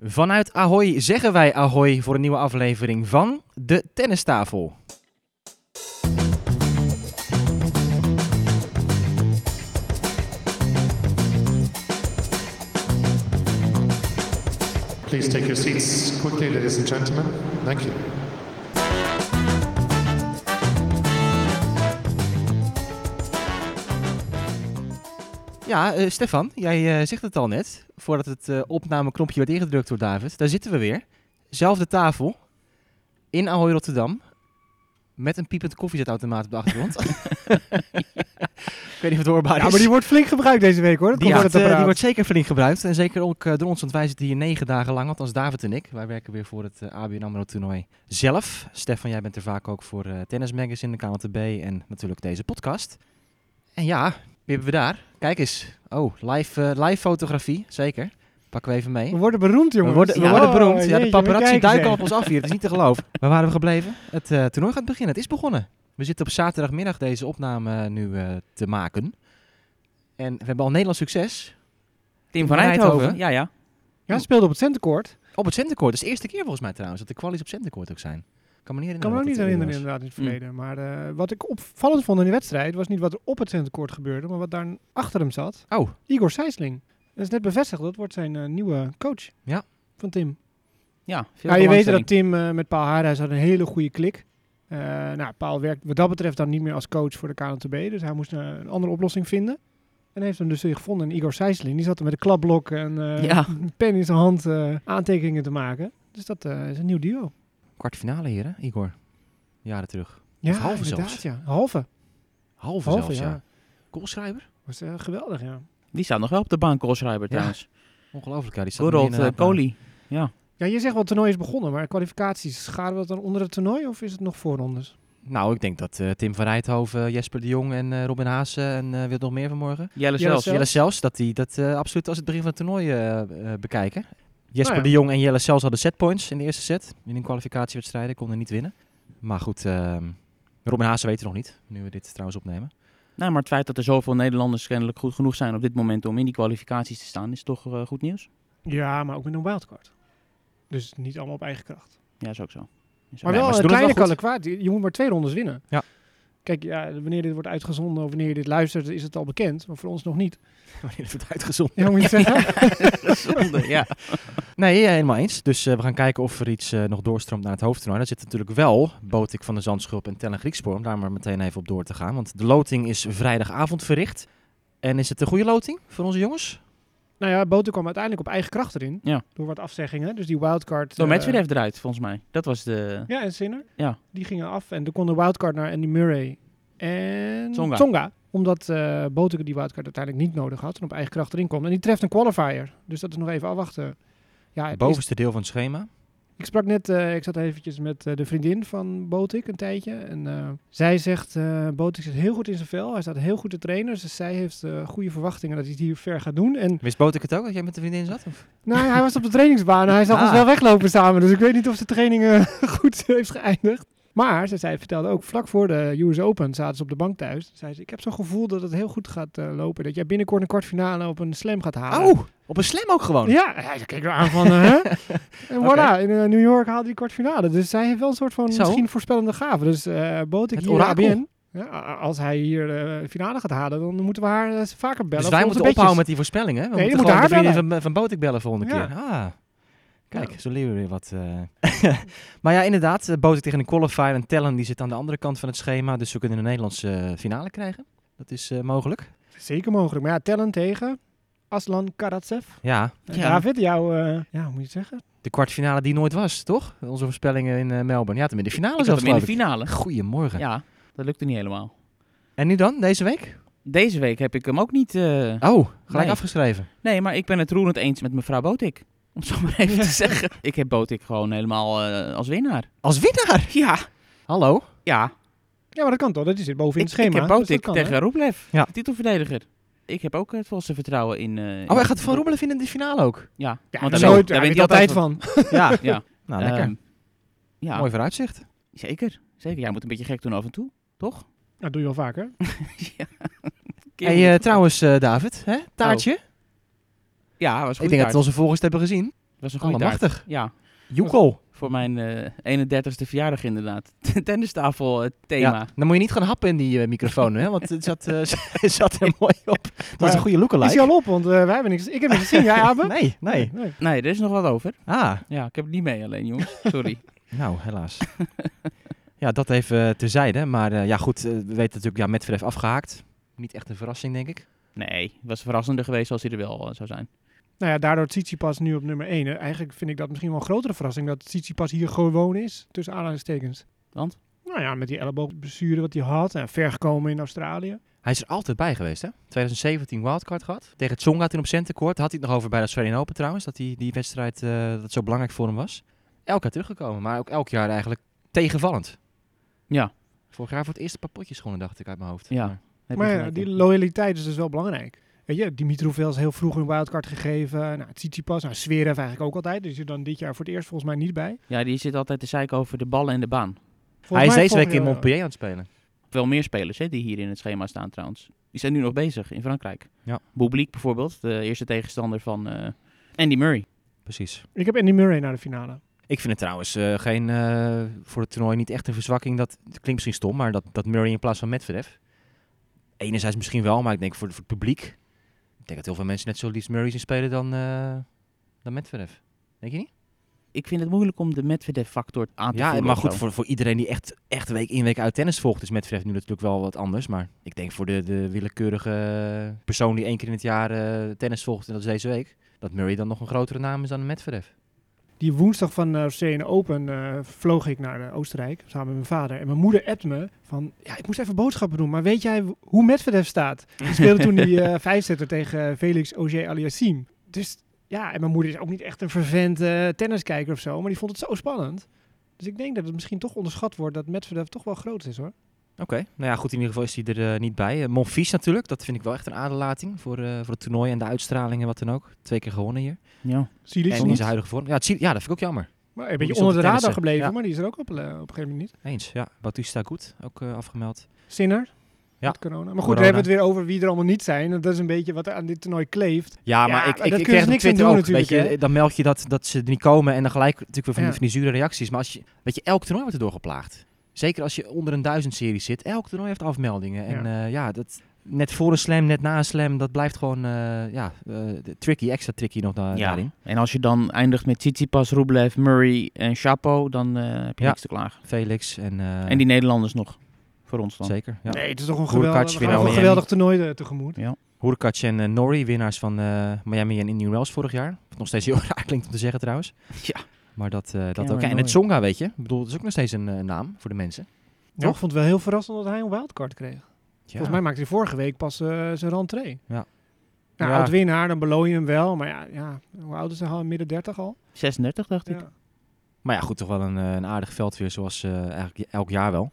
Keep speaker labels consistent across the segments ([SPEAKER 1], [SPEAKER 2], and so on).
[SPEAKER 1] Vanuit Ahoy zeggen wij Ahoy voor een nieuwe aflevering van De Tennistafel.
[SPEAKER 2] Please take your seats quickly, ladies and gentlemen. Thank you.
[SPEAKER 1] Ja, eh, Stefan, jij eh, zegt het al net, voordat het eh, opnameknopje werd ingedrukt door David. Daar zitten we weer. Zelfde tafel, in Ahoy Rotterdam, met een piepend koffiezetautomaat op de achtergrond. Ik weet niet of het hoorbaar Ah, is.
[SPEAKER 3] Ja, maar die wordt flink gebruikt deze week hoor. Dat
[SPEAKER 1] Die
[SPEAKER 3] komt door
[SPEAKER 1] wordt,
[SPEAKER 3] het
[SPEAKER 1] eh, die
[SPEAKER 3] apparaat.
[SPEAKER 1] wordt zeker flink gebruikt. En zeker ook eh, door ons, want wij zitten hier negen dagen lang. Althans, David en ik. Wij werken weer voor het eh, ABN AMRO toernooi zelf. Stefan, jij bent er vaak ook voor eh, Tennis Magazine, de KNTB en natuurlijk deze podcast. En ja, wie hebben we daar? Kijk eens. Oh, live, eh, live fotografie, zeker. Pakken we even mee.
[SPEAKER 3] We worden beroemd jongen. Oh,
[SPEAKER 1] We worden, we worden beroemd. Oh, Ja, de paparazzi duiken al op
[SPEAKER 3] op.
[SPEAKER 1] ons af hier. Het is niet te geloven. Waar waren we gebleven? Het eh, toernooi gaat beginnen. Het is begonnen. We zitten op zaterdagmiddag deze opname eh, nu eh, te maken. En we hebben al Nederlands succes
[SPEAKER 4] Tim
[SPEAKER 1] van
[SPEAKER 4] van
[SPEAKER 1] Eindhoven?
[SPEAKER 4] Eindhoven. Ja, ja.
[SPEAKER 3] Ja, ze speelden op het centercourt.
[SPEAKER 1] op het centercourt. Dat is de eerste keer volgens mij trouwens dat de kwalies op centercourt ook zijn. Ik kan me niet
[SPEAKER 3] Ik kan
[SPEAKER 1] herinneren.
[SPEAKER 3] me ook
[SPEAKER 1] dat Hm. het
[SPEAKER 3] niet
[SPEAKER 1] eerder
[SPEAKER 3] herinneren inderdaad in het verleden.
[SPEAKER 4] Mm.
[SPEAKER 3] Maar eh, wat ik opvallend vond in die wedstrijd was niet wat er op het centercourt gebeurde, maar wat daar achter hem zat.
[SPEAKER 1] was. Oh,
[SPEAKER 3] Igor Sijsling. Dat is net bevestigd. Dat wordt zijn eh, nieuwe coach.
[SPEAKER 1] Ja.
[SPEAKER 3] Van Tim.
[SPEAKER 4] ja veel
[SPEAKER 3] Ja, je weet dat
[SPEAKER 4] belangstelling.
[SPEAKER 3] Tim eh, met Paul Haarhuis had een hele goede klik. Eh, nou, Paul werkt wat dat betreft dan niet meer als coach voor de KNTB. Dus hij moest eh, een andere oplossing vinden. En heeft hem dus weer gevonden in Igor Sijsling. Die zat er met een klapblok en eh,
[SPEAKER 4] Ja.
[SPEAKER 3] een pen in zijn hand eh, aantekeningen te maken. Dus dat eh, is een nieuw duo.
[SPEAKER 1] kwartfinale heren, Igor. Jaren terug.
[SPEAKER 3] Ja,
[SPEAKER 1] Of halve
[SPEAKER 3] inderdaad.
[SPEAKER 1] zelfs.
[SPEAKER 3] Ja. Halve.
[SPEAKER 1] Halve,
[SPEAKER 3] Halve,
[SPEAKER 1] zelfs, ja.
[SPEAKER 3] ja.
[SPEAKER 1] Koolschrijver?
[SPEAKER 3] Was eh, geweldig, ja.
[SPEAKER 4] Die staat nog wel op de bank, Koolschrijber
[SPEAKER 1] Ja.
[SPEAKER 4] trouwens.
[SPEAKER 1] Ongelooflijk, ja. Die staat nu
[SPEAKER 4] Gorold
[SPEAKER 1] inderdaad, eh,
[SPEAKER 4] Koli.
[SPEAKER 3] Ja, je zegt wel het toernooi is begonnen, maar kwalificaties, scharen we dat dan onder het toernooi of is het nog voorrondes?
[SPEAKER 1] Nou, ik denk dat eh, Tim van Rijthoven, Jesper de Jong en eh, Robin Haase en eh wie nog meer vanmorgen?
[SPEAKER 4] Jelle
[SPEAKER 3] Jelle
[SPEAKER 4] zelfs.
[SPEAKER 3] zelfs.
[SPEAKER 1] Jelle Sels, dat die dat eh, absoluut als het begin van het toernooi eh, eh, bekijken. Jesper
[SPEAKER 3] Nou ja.
[SPEAKER 1] de Jong en Jelle Sels hadden setpoints in de eerste set. In een kwalificatiewedstrijden konden niet winnen. Maar goed, ehm Robin Haase weet het nog niet, nu we dit trouwens opnemen.
[SPEAKER 4] Nou, maar het feit dat er zoveel Nederlanders kennelijk goed genoeg zijn op dit moment om in die kwalificaties te staan, is toch eh, goed nieuws?
[SPEAKER 3] Ja, maar ook met een wildcard. Dus niet allemaal op eigen kracht.
[SPEAKER 4] Ja, is ook zo. Is ook-
[SPEAKER 3] Maar
[SPEAKER 1] Nee,
[SPEAKER 3] wel
[SPEAKER 1] maar ze
[SPEAKER 3] een
[SPEAKER 1] doen het
[SPEAKER 3] kleine
[SPEAKER 1] wel goed.
[SPEAKER 3] kwalificatie. Je moet maar twee rondes winnen.
[SPEAKER 1] Ja.
[SPEAKER 3] Kijk, ja, wanneer dit wordt uitgezonden of wanneer je dit luistert, is het al bekend. Maar voor ons nog niet.
[SPEAKER 1] Wanneer het wordt uitgezonden.
[SPEAKER 3] Ja, moet je nou, het zeggen?
[SPEAKER 4] Zonde, ja.
[SPEAKER 1] Nee, ja, helemaal eens. Dus eh, we gaan kijken of er iets eh, nog doorstroomt naar het hoofdtoernooi. Daar zit natuurlijk wel Botik van de Zandschulp en Tellen Griekspoor. Om daar maar meteen even op door te gaan. Want de loting is vrijdagavond verricht. En is het een goede loting voor onze jongens?
[SPEAKER 3] nou ja, Boten kwam uiteindelijk op eigen kracht erin.
[SPEAKER 4] Ja.
[SPEAKER 3] Door wat afzeggingen. Dus die wildcard...
[SPEAKER 4] Door
[SPEAKER 3] eh,
[SPEAKER 4] Medvedev eruit, volgens mij. Dat was de...
[SPEAKER 3] Ja, en Sinner.
[SPEAKER 4] Ja.
[SPEAKER 3] Die gingen af en er kon de wildcard naar Andy Murray en
[SPEAKER 4] Tsonga.
[SPEAKER 3] Omdat eh Botek die wildcard uiteindelijk niet nodig had en op eigen kracht erin komt. En die treft een qualifier. Dus dat is nog even afwachten. Ja, het is-
[SPEAKER 1] Bovenste deel van het schema.
[SPEAKER 3] ik sprak net, eh, ik zat eventjes met eh, de vriendin van Botik een tijdje. En eh, zij zegt, eh Botik zit heel goed in zijn vel. Hij staat heel goed te trainen. Dus zij heeft eh, goede verwachtingen dat hij het hier ver gaat doen. En
[SPEAKER 1] Wist Botik het ook dat jij met de vriendin zat? Of?
[SPEAKER 3] nou, hij was op de trainingsbaan. en Hij zag
[SPEAKER 1] Ah.
[SPEAKER 3] ons wel weglopen samen. Dus ik weet niet of de training eh, goed heeft geëindigd. Maar ze zei, vertelde ook, vlak voor de US Open zaten ze op de bank thuis. Zei ze, ik heb zo'n gevoel dat het heel goed gaat eh, lopen. Dat jij binnenkort een kwartfinale op een slam gaat halen.
[SPEAKER 1] Oh, op een slam ook gewoon.
[SPEAKER 3] Ja, hij keek er aan van, eh, hè? En voilà, in eh, New York haalde hij kwartfinale. Dus zij heeft wel een soort van
[SPEAKER 1] Zo.
[SPEAKER 3] misschien voorspellende gave. Dus eh bood ik
[SPEAKER 1] Het
[SPEAKER 3] hier de
[SPEAKER 1] orakel.
[SPEAKER 3] ABN. Ja, a- als hij hier de finale gaat halen, dan moeten we haar eh,
[SPEAKER 1] Dus
[SPEAKER 3] vaker bellen. voor
[SPEAKER 1] wij
[SPEAKER 3] onze
[SPEAKER 1] moeten
[SPEAKER 3] bedjes.
[SPEAKER 1] ophouden met die voorspellingen. We
[SPEAKER 3] Nee, je
[SPEAKER 1] moeten
[SPEAKER 3] moet
[SPEAKER 1] gewoon
[SPEAKER 3] haar
[SPEAKER 1] de vriendin van, van Botik bellen volgende
[SPEAKER 3] Ja.
[SPEAKER 1] keer. Ah. Kijk, zo leren we weer wat. eh. maar ja, inderdaad, eh, Botik tegen een qualifier en Tellen die zit aan de andere kant van het schema. Dus we kunnen een Nederlandse eh, finale krijgen. Dat is eh, mogelijk.
[SPEAKER 3] Zeker mogelijk. Maar ja, tellen tegen Aslan Karatsev.
[SPEAKER 1] Ja,
[SPEAKER 3] Eh,
[SPEAKER 4] Ja.
[SPEAKER 3] David, jouw... eh, ja, hoe moet je het zeggen?
[SPEAKER 1] de kwartfinale die nooit was, toch? Onze voorspellingen in eh, Melbourne. Ja, tenminste, de finale
[SPEAKER 4] Ik had
[SPEAKER 1] zelfs
[SPEAKER 4] hem in de
[SPEAKER 1] geloof ik.
[SPEAKER 4] finale.
[SPEAKER 1] Goedemorgen.
[SPEAKER 4] Ja, dat lukte niet helemaal.
[SPEAKER 1] En nu dan, deze week?
[SPEAKER 4] Deze week heb ik hem ook niet... eh,
[SPEAKER 1] Oh, gelijk
[SPEAKER 4] Nee.
[SPEAKER 1] afgeschreven.
[SPEAKER 4] Nee, maar ik ben het roerend eens met mevrouw Botik. Om het zo maar even te zeggen. Ik heb Botik gewoon helemaal eh, als winnaar.
[SPEAKER 1] Als winnaar!
[SPEAKER 4] Ja.
[SPEAKER 1] Hallo?
[SPEAKER 4] Ja,
[SPEAKER 3] Ja, maar dat kan toch? Dat zit bovenin het
[SPEAKER 4] ik,
[SPEAKER 3] schema.
[SPEAKER 4] ik heb
[SPEAKER 3] Dus dat
[SPEAKER 4] Botik
[SPEAKER 3] kan, hè?
[SPEAKER 4] tegen Rublev,
[SPEAKER 1] Ja.
[SPEAKER 4] de titelverdediger. Ik heb ook het volste vertrouwen in... eh,
[SPEAKER 1] Oh, hij
[SPEAKER 4] in-
[SPEAKER 1] gaat Van Roemelen vinden in de finale ook.
[SPEAKER 4] Ja,
[SPEAKER 3] Ja,
[SPEAKER 4] want
[SPEAKER 3] daar
[SPEAKER 4] daar,
[SPEAKER 3] nooit,
[SPEAKER 4] daar
[SPEAKER 3] daar
[SPEAKER 4] wint
[SPEAKER 3] weet hij altijd van.
[SPEAKER 1] Ja.
[SPEAKER 4] van. Ja,
[SPEAKER 1] Nou, lekker.
[SPEAKER 4] ehm, ja
[SPEAKER 1] Mooi vooruitzicht.
[SPEAKER 4] zeker. Zeker, jij moet een beetje gek doen af en toe, toch?
[SPEAKER 3] Dat doe je wel vaker.
[SPEAKER 4] ja.
[SPEAKER 1] Hey, eh, trouwens, eh, David, hè? taartje.
[SPEAKER 4] Ja, was goed
[SPEAKER 1] ik denk dat
[SPEAKER 4] kaart.
[SPEAKER 1] onze volgers het hebben gezien.
[SPEAKER 4] was een goede taart.
[SPEAKER 1] Allemachtig.
[SPEAKER 4] Ja,
[SPEAKER 1] Joekel.
[SPEAKER 4] voor mijn eh 31ste verjaardag inderdaad. Tennistafel eh, thema.
[SPEAKER 1] Ja, dan moet je niet gaan happen in die eh, microfoon, hè? Want het zat, eh, het zat er mooi op. Dat is
[SPEAKER 3] Maar
[SPEAKER 1] een goede
[SPEAKER 3] Is
[SPEAKER 1] lookalike.
[SPEAKER 3] hij al op? Want eh, wij hebben niks. Ik heb niks gezien. Jij, Abe?
[SPEAKER 1] Nee, nee.
[SPEAKER 3] nee.
[SPEAKER 4] Nee, er is nog wat over.
[SPEAKER 1] Ah,
[SPEAKER 4] Ja, ik heb het niet mee alleen, jongens. Sorry.
[SPEAKER 1] nou, helaas. ja, dat even terzijde. Maar eh, ja, goed, eh, we weten natuurlijk, ja, Medvedev afgehaakt. Niet echt een verrassing, denk ik.
[SPEAKER 4] Nee, het was verrassender geweest als hij er wel eh, zou zijn.
[SPEAKER 3] Nou ja, daardoor Tsitsipas nu op nummer 1. Eigenlijk vind ik dat misschien wel een grotere verrassing dat Tsitsipas hier gewoon is. Tussen aanhalingstekens.
[SPEAKER 4] Want?
[SPEAKER 3] Nou ja, met die elleboogblessure wat hij had. En ver gekomen in Australië.
[SPEAKER 1] Hij is er altijd bij geweest, hè? 2017 wildcard gehad. Tegen Tsonga toen op centenkort. Had hij het nog over bij de Australian Open trouwens. Dat die, die wedstrijd eh, dat het zo belangrijk voor hem was. Elk jaar teruggekomen, maar ook elk jaar eigenlijk tegenvallend.
[SPEAKER 4] Ja.
[SPEAKER 1] Vorig jaar voor het eerst een paar potjes gewonnen, dacht ik uit mijn hoofd.
[SPEAKER 4] Ja.
[SPEAKER 1] Maar-
[SPEAKER 4] Heb je
[SPEAKER 3] maar ja,
[SPEAKER 4] gelijk
[SPEAKER 3] die
[SPEAKER 4] in.
[SPEAKER 3] loyaliteit is dus wel belangrijk. Weet je, Dimitrov wel eens heel vroeg een wildcard gegeven. Nou, Tsitsipas, nou, Zverev eigenlijk ook altijd. Dus er dan dit jaar voor het eerst volgens mij niet bij.
[SPEAKER 4] ja, die zit altijd te zeiken over de ballen en de baan.
[SPEAKER 1] Hij is deze week in
[SPEAKER 3] Montpellier.
[SPEAKER 1] Montpellier aan het spelen.
[SPEAKER 4] Wel meer spelers hè, die hier in het schema staan trouwens. Die zijn nu nog bezig in Frankrijk.
[SPEAKER 1] Ja.
[SPEAKER 4] Bublik bijvoorbeeld, de eerste tegenstander van eh, Andy Murray.
[SPEAKER 1] Precies.
[SPEAKER 3] Ik heb Andy Murray naar de finale.
[SPEAKER 1] Ik vind het trouwens eh, geen, eh, voor het toernooi niet echt een verzwakking. Dat het klinkt misschien stom, maar dat, dat Murray in plaats van Medvedev. Enerzijds misschien wel, maar ik denk voor, voor het publiek. Ik denk dat heel veel mensen net zo liefst Murray zien spelen dan, eh dan Medvedev. Denk je niet?
[SPEAKER 4] Ik vind het moeilijk om de Medvedev-factor aan te
[SPEAKER 1] Ja,
[SPEAKER 4] voeren
[SPEAKER 1] maar
[SPEAKER 4] of
[SPEAKER 1] goed,
[SPEAKER 4] zo.
[SPEAKER 1] voor, voor iedereen die echt, echt week in week uit tennis volgt, is Medvedev nu natuurlijk wel wat anders. Maar ik denk voor de, de willekeurige persoon die één keer in het jaar eh, tennis volgt, en dat is deze week, dat Murray dan nog een grotere naam is dan Medvedev.
[SPEAKER 3] Die woensdag van de CN Open eh, vloog ik naar eh, Oostenrijk samen met mijn vader. En mijn moeder appt me van, ja, ik moest even boodschappen doen. Maar weet jij w- hoe Medvedev staat? Die speelde toen die eh vijfzetter tegen eh, Felix Auger-Aliassime. Dus ja, en mijn moeder is ook niet echt een vervent eh, tenniskijker of zo. Maar die vond het zo spannend. Dus ik denk dat het misschien toch onderschat wordt dat Medvedev toch wel groot is hoor.
[SPEAKER 1] Oké, nou ja, goed, in ieder geval is hij er eh, niet bij. Eh, Monfils natuurlijk, dat vind ik wel echt een aderlating voor, eh, voor het toernooi en de uitstraling en wat dan ook. Twee keer gewonnen hier.
[SPEAKER 4] Ja.
[SPEAKER 3] Silic
[SPEAKER 1] en in
[SPEAKER 3] niet.
[SPEAKER 1] zijn huidige vorm. Ja, het zie- ja, dat vind ik ook jammer.
[SPEAKER 3] Maar een
[SPEAKER 1] die
[SPEAKER 3] beetje
[SPEAKER 1] stond
[SPEAKER 3] onder de
[SPEAKER 1] te tennissen.
[SPEAKER 3] radar gebleven,
[SPEAKER 1] Ja.
[SPEAKER 3] maar die is er ook op, eh, op een gegeven moment niet.
[SPEAKER 1] Eens, ja. Batista goed, ook eh, afgemeld.
[SPEAKER 3] Sinner.
[SPEAKER 1] Ja.
[SPEAKER 3] Met corona. Maar goed,
[SPEAKER 1] Corona.
[SPEAKER 3] daar hebben we het weer over wie er allemaal niet zijn. En Dat is een beetje wat aan dit toernooi kleeft.
[SPEAKER 1] Ja,
[SPEAKER 3] maar
[SPEAKER 1] maar
[SPEAKER 3] dat
[SPEAKER 1] ik, ik,
[SPEAKER 3] kunnen
[SPEAKER 1] ik
[SPEAKER 3] ze
[SPEAKER 1] kreeg het op
[SPEAKER 3] niks aan
[SPEAKER 1] Twitter
[SPEAKER 3] doen
[SPEAKER 1] ook, weet
[SPEAKER 3] natuurlijk,
[SPEAKER 1] je. Dan meld je dat, dat ze er niet komen en dan gelijk natuurlijk weer van, die,
[SPEAKER 3] Ja.
[SPEAKER 1] van die zure reacties. Maar als je, weet je, elk toernooi wordt erdoor geplaagd. Zeker als je onder een duizend serie zit. Elk toernooi heeft afmeldingen. En ja, ja dat, net voor een slam, net na een slam, dat blijft gewoon eh, ja, eh, tricky, extra tricky nog da- daarin.
[SPEAKER 4] En als je dan eindigt met Tsitsipas, Rublev, Murray en Chapo, dan eh, heb je
[SPEAKER 1] Ja.
[SPEAKER 4] niks te klagen.
[SPEAKER 1] Felix en, eh,
[SPEAKER 4] En die Nederlanders nog, voor ons dan.
[SPEAKER 1] Zeker, ja.
[SPEAKER 3] Nee, het is toch een
[SPEAKER 1] Roerkaartje
[SPEAKER 3] geweldig,
[SPEAKER 1] winnen
[SPEAKER 3] een
[SPEAKER 1] al
[SPEAKER 3] geweldig toernooi eh, tegemoet.
[SPEAKER 1] Hurkacz en eh, Norrie, winnaars van eh, Miami en Indian Wells vorig jaar. Wat nog steeds heel raar klinkt om te zeggen trouwens.
[SPEAKER 4] Ja.
[SPEAKER 1] Maar dat, eh, dat
[SPEAKER 4] maar
[SPEAKER 1] ook. Ja, en
[SPEAKER 4] Norrie.
[SPEAKER 1] het Tsonga, weet je. Ik bedoel, dat is ook nog steeds een eh, naam voor de mensen.
[SPEAKER 3] Ja. Ik vond het wel heel verrassend dat hij een wildcard kreeg.
[SPEAKER 1] Ja.
[SPEAKER 3] Volgens mij maakte hij vorige week pas eh, zijn rentree.
[SPEAKER 1] Ja.
[SPEAKER 3] Nou,
[SPEAKER 1] Ja.
[SPEAKER 3] oud winnaar, dan beloon je hem wel. Maar ja, ja hoe oud is hij al? Midden 30 al?
[SPEAKER 4] 36 dacht ik.
[SPEAKER 3] Ja.
[SPEAKER 1] Maar ja, goed, toch wel een, eh, een aardig veld weer, zoals eh, eigenlijk elk jaar wel.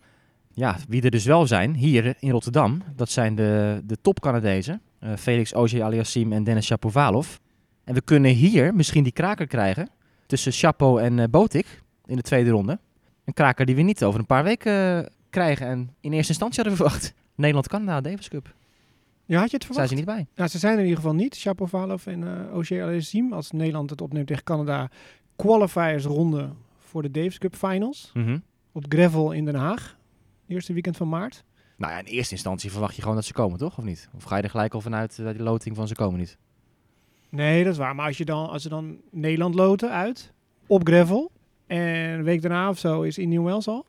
[SPEAKER 1] Ja, wie er dus wel zijn, hier in Rotterdam, dat zijn de, de topcanadezen. eh Felix Auger Aliassim en Dennis Shapovalov. En we kunnen hier misschien die kraker krijgen tussen Chapo en eh, Botik in de tweede ronde. Een kraker die we niet over een paar weken eh, krijgen en in eerste instantie hadden verwacht. Nederland-Canada, Davis Cup.
[SPEAKER 3] Ja, had je het
[SPEAKER 1] Zijn
[SPEAKER 3] verwacht?
[SPEAKER 1] ze niet bij.
[SPEAKER 3] Nou, ze zijn er in ieder geval niet. Shapovalov en eh Ocean Aliassime. Als Nederland het opneemt tegen Canada. Qualifiers ronde voor de Davis Cup Finals.
[SPEAKER 1] Mhm.
[SPEAKER 3] Op Gravel in Den Haag. Eerste weekend van maart.
[SPEAKER 1] Nou ja, in eerste instantie verwacht je gewoon dat ze komen, toch? Of niet? Of ga je er gelijk al vanuit eh, dat die loting van ze komen niet?
[SPEAKER 3] Nee, dat is waar. Maar als, je dan, als ze dan Nederland loten uit. Op Gravel. En een week daarna of zo is Indian Wells al.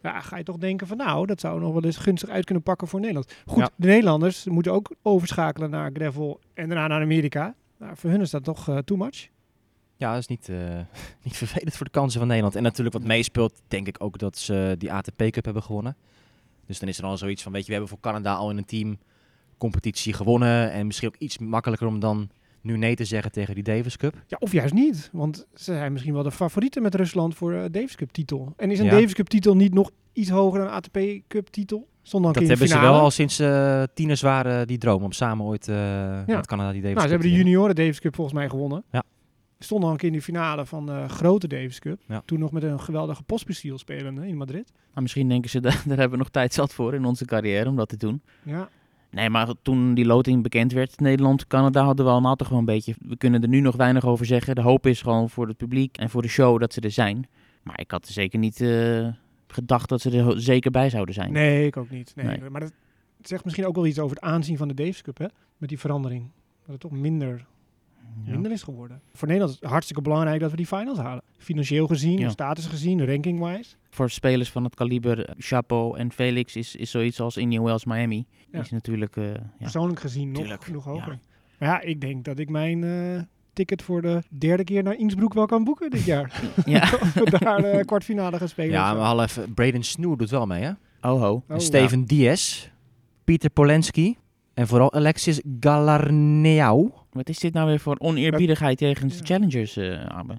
[SPEAKER 1] Ja.
[SPEAKER 3] ga je toch denken van nou, dat zou nog wel eens gunstig uit kunnen pakken voor Nederland. Goed,
[SPEAKER 1] Ja.
[SPEAKER 3] de Nederlanders moeten ook overschakelen naar Gravel en daarna naar Amerika. Nou, voor hun is dat toch eh, too much.
[SPEAKER 1] Ja, dat is niet, eh, niet vervelend voor de kansen van Nederland. En natuurlijk wat meespeelt, denk ik ook dat ze eh, die ATP Cup hebben gewonnen. Dus dan is er al zoiets van, weet je, we hebben voor Canada al in een team competitie gewonnen. En misschien ook iets makkelijker om dan nu nee te zeggen tegen die Davis Cup.
[SPEAKER 3] Ja, of juist niet. Want ze zijn misschien wel de favorieten met Rusland voor eh Davis Cup titel. En is een
[SPEAKER 1] Ja.
[SPEAKER 3] Davis Cup titel niet nog iets hoger dan een ATP Cup titel? Stond dan een
[SPEAKER 1] Dat
[SPEAKER 3] keer
[SPEAKER 1] hebben
[SPEAKER 3] in de
[SPEAKER 1] ze
[SPEAKER 3] finale.
[SPEAKER 1] wel al sinds eh tieners waren die droom om samen ooit eh, met Canada die Davis
[SPEAKER 3] Nou, ze
[SPEAKER 1] Cup
[SPEAKER 3] hebben de
[SPEAKER 1] te winnen.
[SPEAKER 3] junioren Davis Cup volgens mij gewonnen.
[SPEAKER 1] Ja.
[SPEAKER 3] Stonden al een keer in de finale van de grote Davis Cup.
[SPEAKER 1] Ja.
[SPEAKER 3] Toen nog met een geweldige postbestiel spelende in Madrid.
[SPEAKER 4] Maar misschien denken ze, daar, daar hebben we nog tijd zat voor in onze carrière om dat te doen.
[SPEAKER 3] Ja.
[SPEAKER 4] Nee, maar toen die loting bekend werd, Nederland, Canada, hadden we al een aantal gewoon een beetje. We kunnen er nu nog weinig over zeggen. De hoop is gewoon voor het publiek en voor de show dat ze er zijn. Maar ik had er zeker niet eh, gedacht dat ze er ho- zeker bij zouden zijn.
[SPEAKER 3] Nee, ik ook niet. Nee.
[SPEAKER 4] Nee.
[SPEAKER 3] Maar dat zegt misschien ook wel iets over het aanzien van de Davis Cup, hè? Met die verandering. Dat het toch minder,
[SPEAKER 4] Ja.
[SPEAKER 3] minder is geworden. Voor Nederland is het hartstikke belangrijk dat we die finals halen. Financieel gezien,
[SPEAKER 4] Ja.
[SPEAKER 3] status gezien, ranking-wise.
[SPEAKER 4] Voor spelers van het kaliber eh, Chapo en Felix is, is zoiets als Indian Wells Miami.
[SPEAKER 3] Ja.
[SPEAKER 4] Is natuurlijk. eh, ja.
[SPEAKER 3] Persoonlijk gezien nog,
[SPEAKER 4] Tuurlijk,
[SPEAKER 3] nog
[SPEAKER 4] ja.
[SPEAKER 3] hoger. Maar ja, ik denk dat ik mijn eh, ticket voor de derde keer naar Innsbruck wel kan boeken dit jaar.
[SPEAKER 4] ja.
[SPEAKER 3] Of we daar de kwartfinale gaan spelen. of
[SPEAKER 1] Ja,
[SPEAKER 3] zo.
[SPEAKER 1] maar half even. Braden Snoer doet wel mee, hè?
[SPEAKER 4] Oh ho.
[SPEAKER 3] Oh,
[SPEAKER 1] en Steven Diaz, Pieter Polenski en vooral Alexis Galarneau.
[SPEAKER 4] Wat is dit nou weer voor oneerbiedigheid tegen
[SPEAKER 3] Ja.
[SPEAKER 4] de challengers, eh Abbe?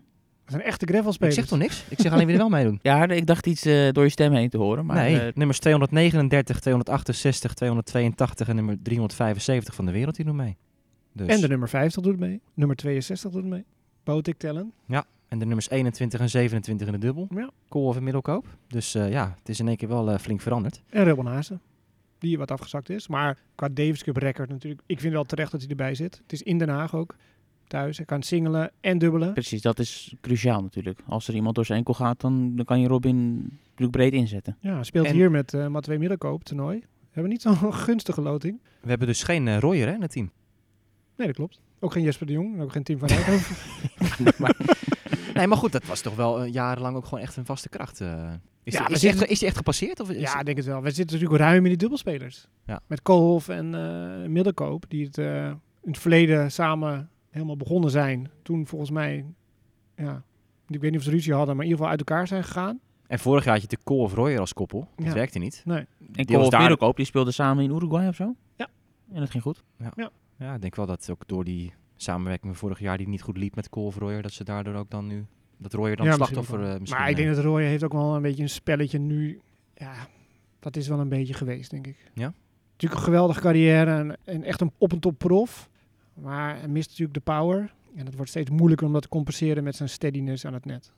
[SPEAKER 3] Dat zijn echte gravelspelers.
[SPEAKER 1] Ik zeg toch niks? Ik zeg alleen wie er wel meedoen.
[SPEAKER 4] Ja, ik dacht iets eh, door je stem heen te horen. Maar,
[SPEAKER 1] nee,
[SPEAKER 4] eh,
[SPEAKER 1] nummers 239, 268, 282 en nummer 375 van de wereld die doen mee. Dus.
[SPEAKER 3] En de nummer 50 doet mee. Nummer 62 doet mee. Botik tellen.
[SPEAKER 1] En de nummers 21 en 27 in de dubbel.
[SPEAKER 3] Ja.
[SPEAKER 1] Koolhof en middelkoop. Dus eh, ja, het is in één keer wel eh, flink veranderd.
[SPEAKER 3] En Ruben Hazen. Die wat afgezakt is. Maar qua Davis Cup record natuurlijk. Ik vind wel terecht dat hij erbij zit. Het is in Den Haag ook. Thuis. Hij kan singelen en dubbelen.
[SPEAKER 4] Precies, dat is cruciaal natuurlijk. Als er iemand door zijn enkel gaat, dan, dan kan je Robin natuurlijk breed inzetten.
[SPEAKER 3] Ja, hij speelt
[SPEAKER 1] En-
[SPEAKER 3] hier met eh Matwee Middelkoop toernooi. We hebben niet zo'n gunstige loting.
[SPEAKER 1] We hebben dus geen eh, Royer hè, in het team.
[SPEAKER 3] Nee, dat klopt. Ook geen Jesper de Jong. en Ook geen Tim van Rijkhoven.
[SPEAKER 1] Nee, maar goed, dat was toch wel eh, jarenlang ook gewoon echt een vaste kracht. eh. is,
[SPEAKER 3] Ja,
[SPEAKER 1] die,
[SPEAKER 3] we
[SPEAKER 1] is, die echt,
[SPEAKER 3] zitten-
[SPEAKER 1] is die echt gepasseerd? Of is
[SPEAKER 3] ja, ik denk het wel. We zitten natuurlijk ruim in die dubbelspelers.
[SPEAKER 1] Ja.
[SPEAKER 3] Met Koolhof en eh, Middelkoop. Die het eh, in het verleden samen helemaal begonnen zijn. Toen volgens mij... Ja, ik weet niet of ze ruzie hadden. Maar in ieder geval uit elkaar zijn gegaan.
[SPEAKER 1] En vorig jaar had je de Kool of Royer als koppel. Dat
[SPEAKER 3] Ja.
[SPEAKER 1] werkte niet.
[SPEAKER 3] Nee.
[SPEAKER 4] En
[SPEAKER 1] Die was
[SPEAKER 4] Kool
[SPEAKER 1] daar-
[SPEAKER 4] Middelkoop, die speelden samen in Uruguay of zo?
[SPEAKER 3] Ja.
[SPEAKER 4] En dat ging goed.
[SPEAKER 1] Ja, ik denk wel dat ook door die samenwerking van vorig jaar die niet goed liep met Cole of Royer, dat ze daardoor ook dan nu dat Royer dan
[SPEAKER 3] Ja, misschien
[SPEAKER 1] slachtoffer
[SPEAKER 3] ook
[SPEAKER 1] eh,
[SPEAKER 3] wel.
[SPEAKER 1] misschien.
[SPEAKER 3] maar ik
[SPEAKER 1] eh,
[SPEAKER 3] denk dat Roy heeft ook wel een beetje een spelletje nu. Ja, dat is wel een beetje geweest, denk ik.
[SPEAKER 1] Ja?
[SPEAKER 3] Natuurlijk een geweldige carrière en, en echt een op en top prof. Maar hij mist natuurlijk de power. En het wordt steeds moeilijker om dat te compenseren met zijn steadiness aan het net.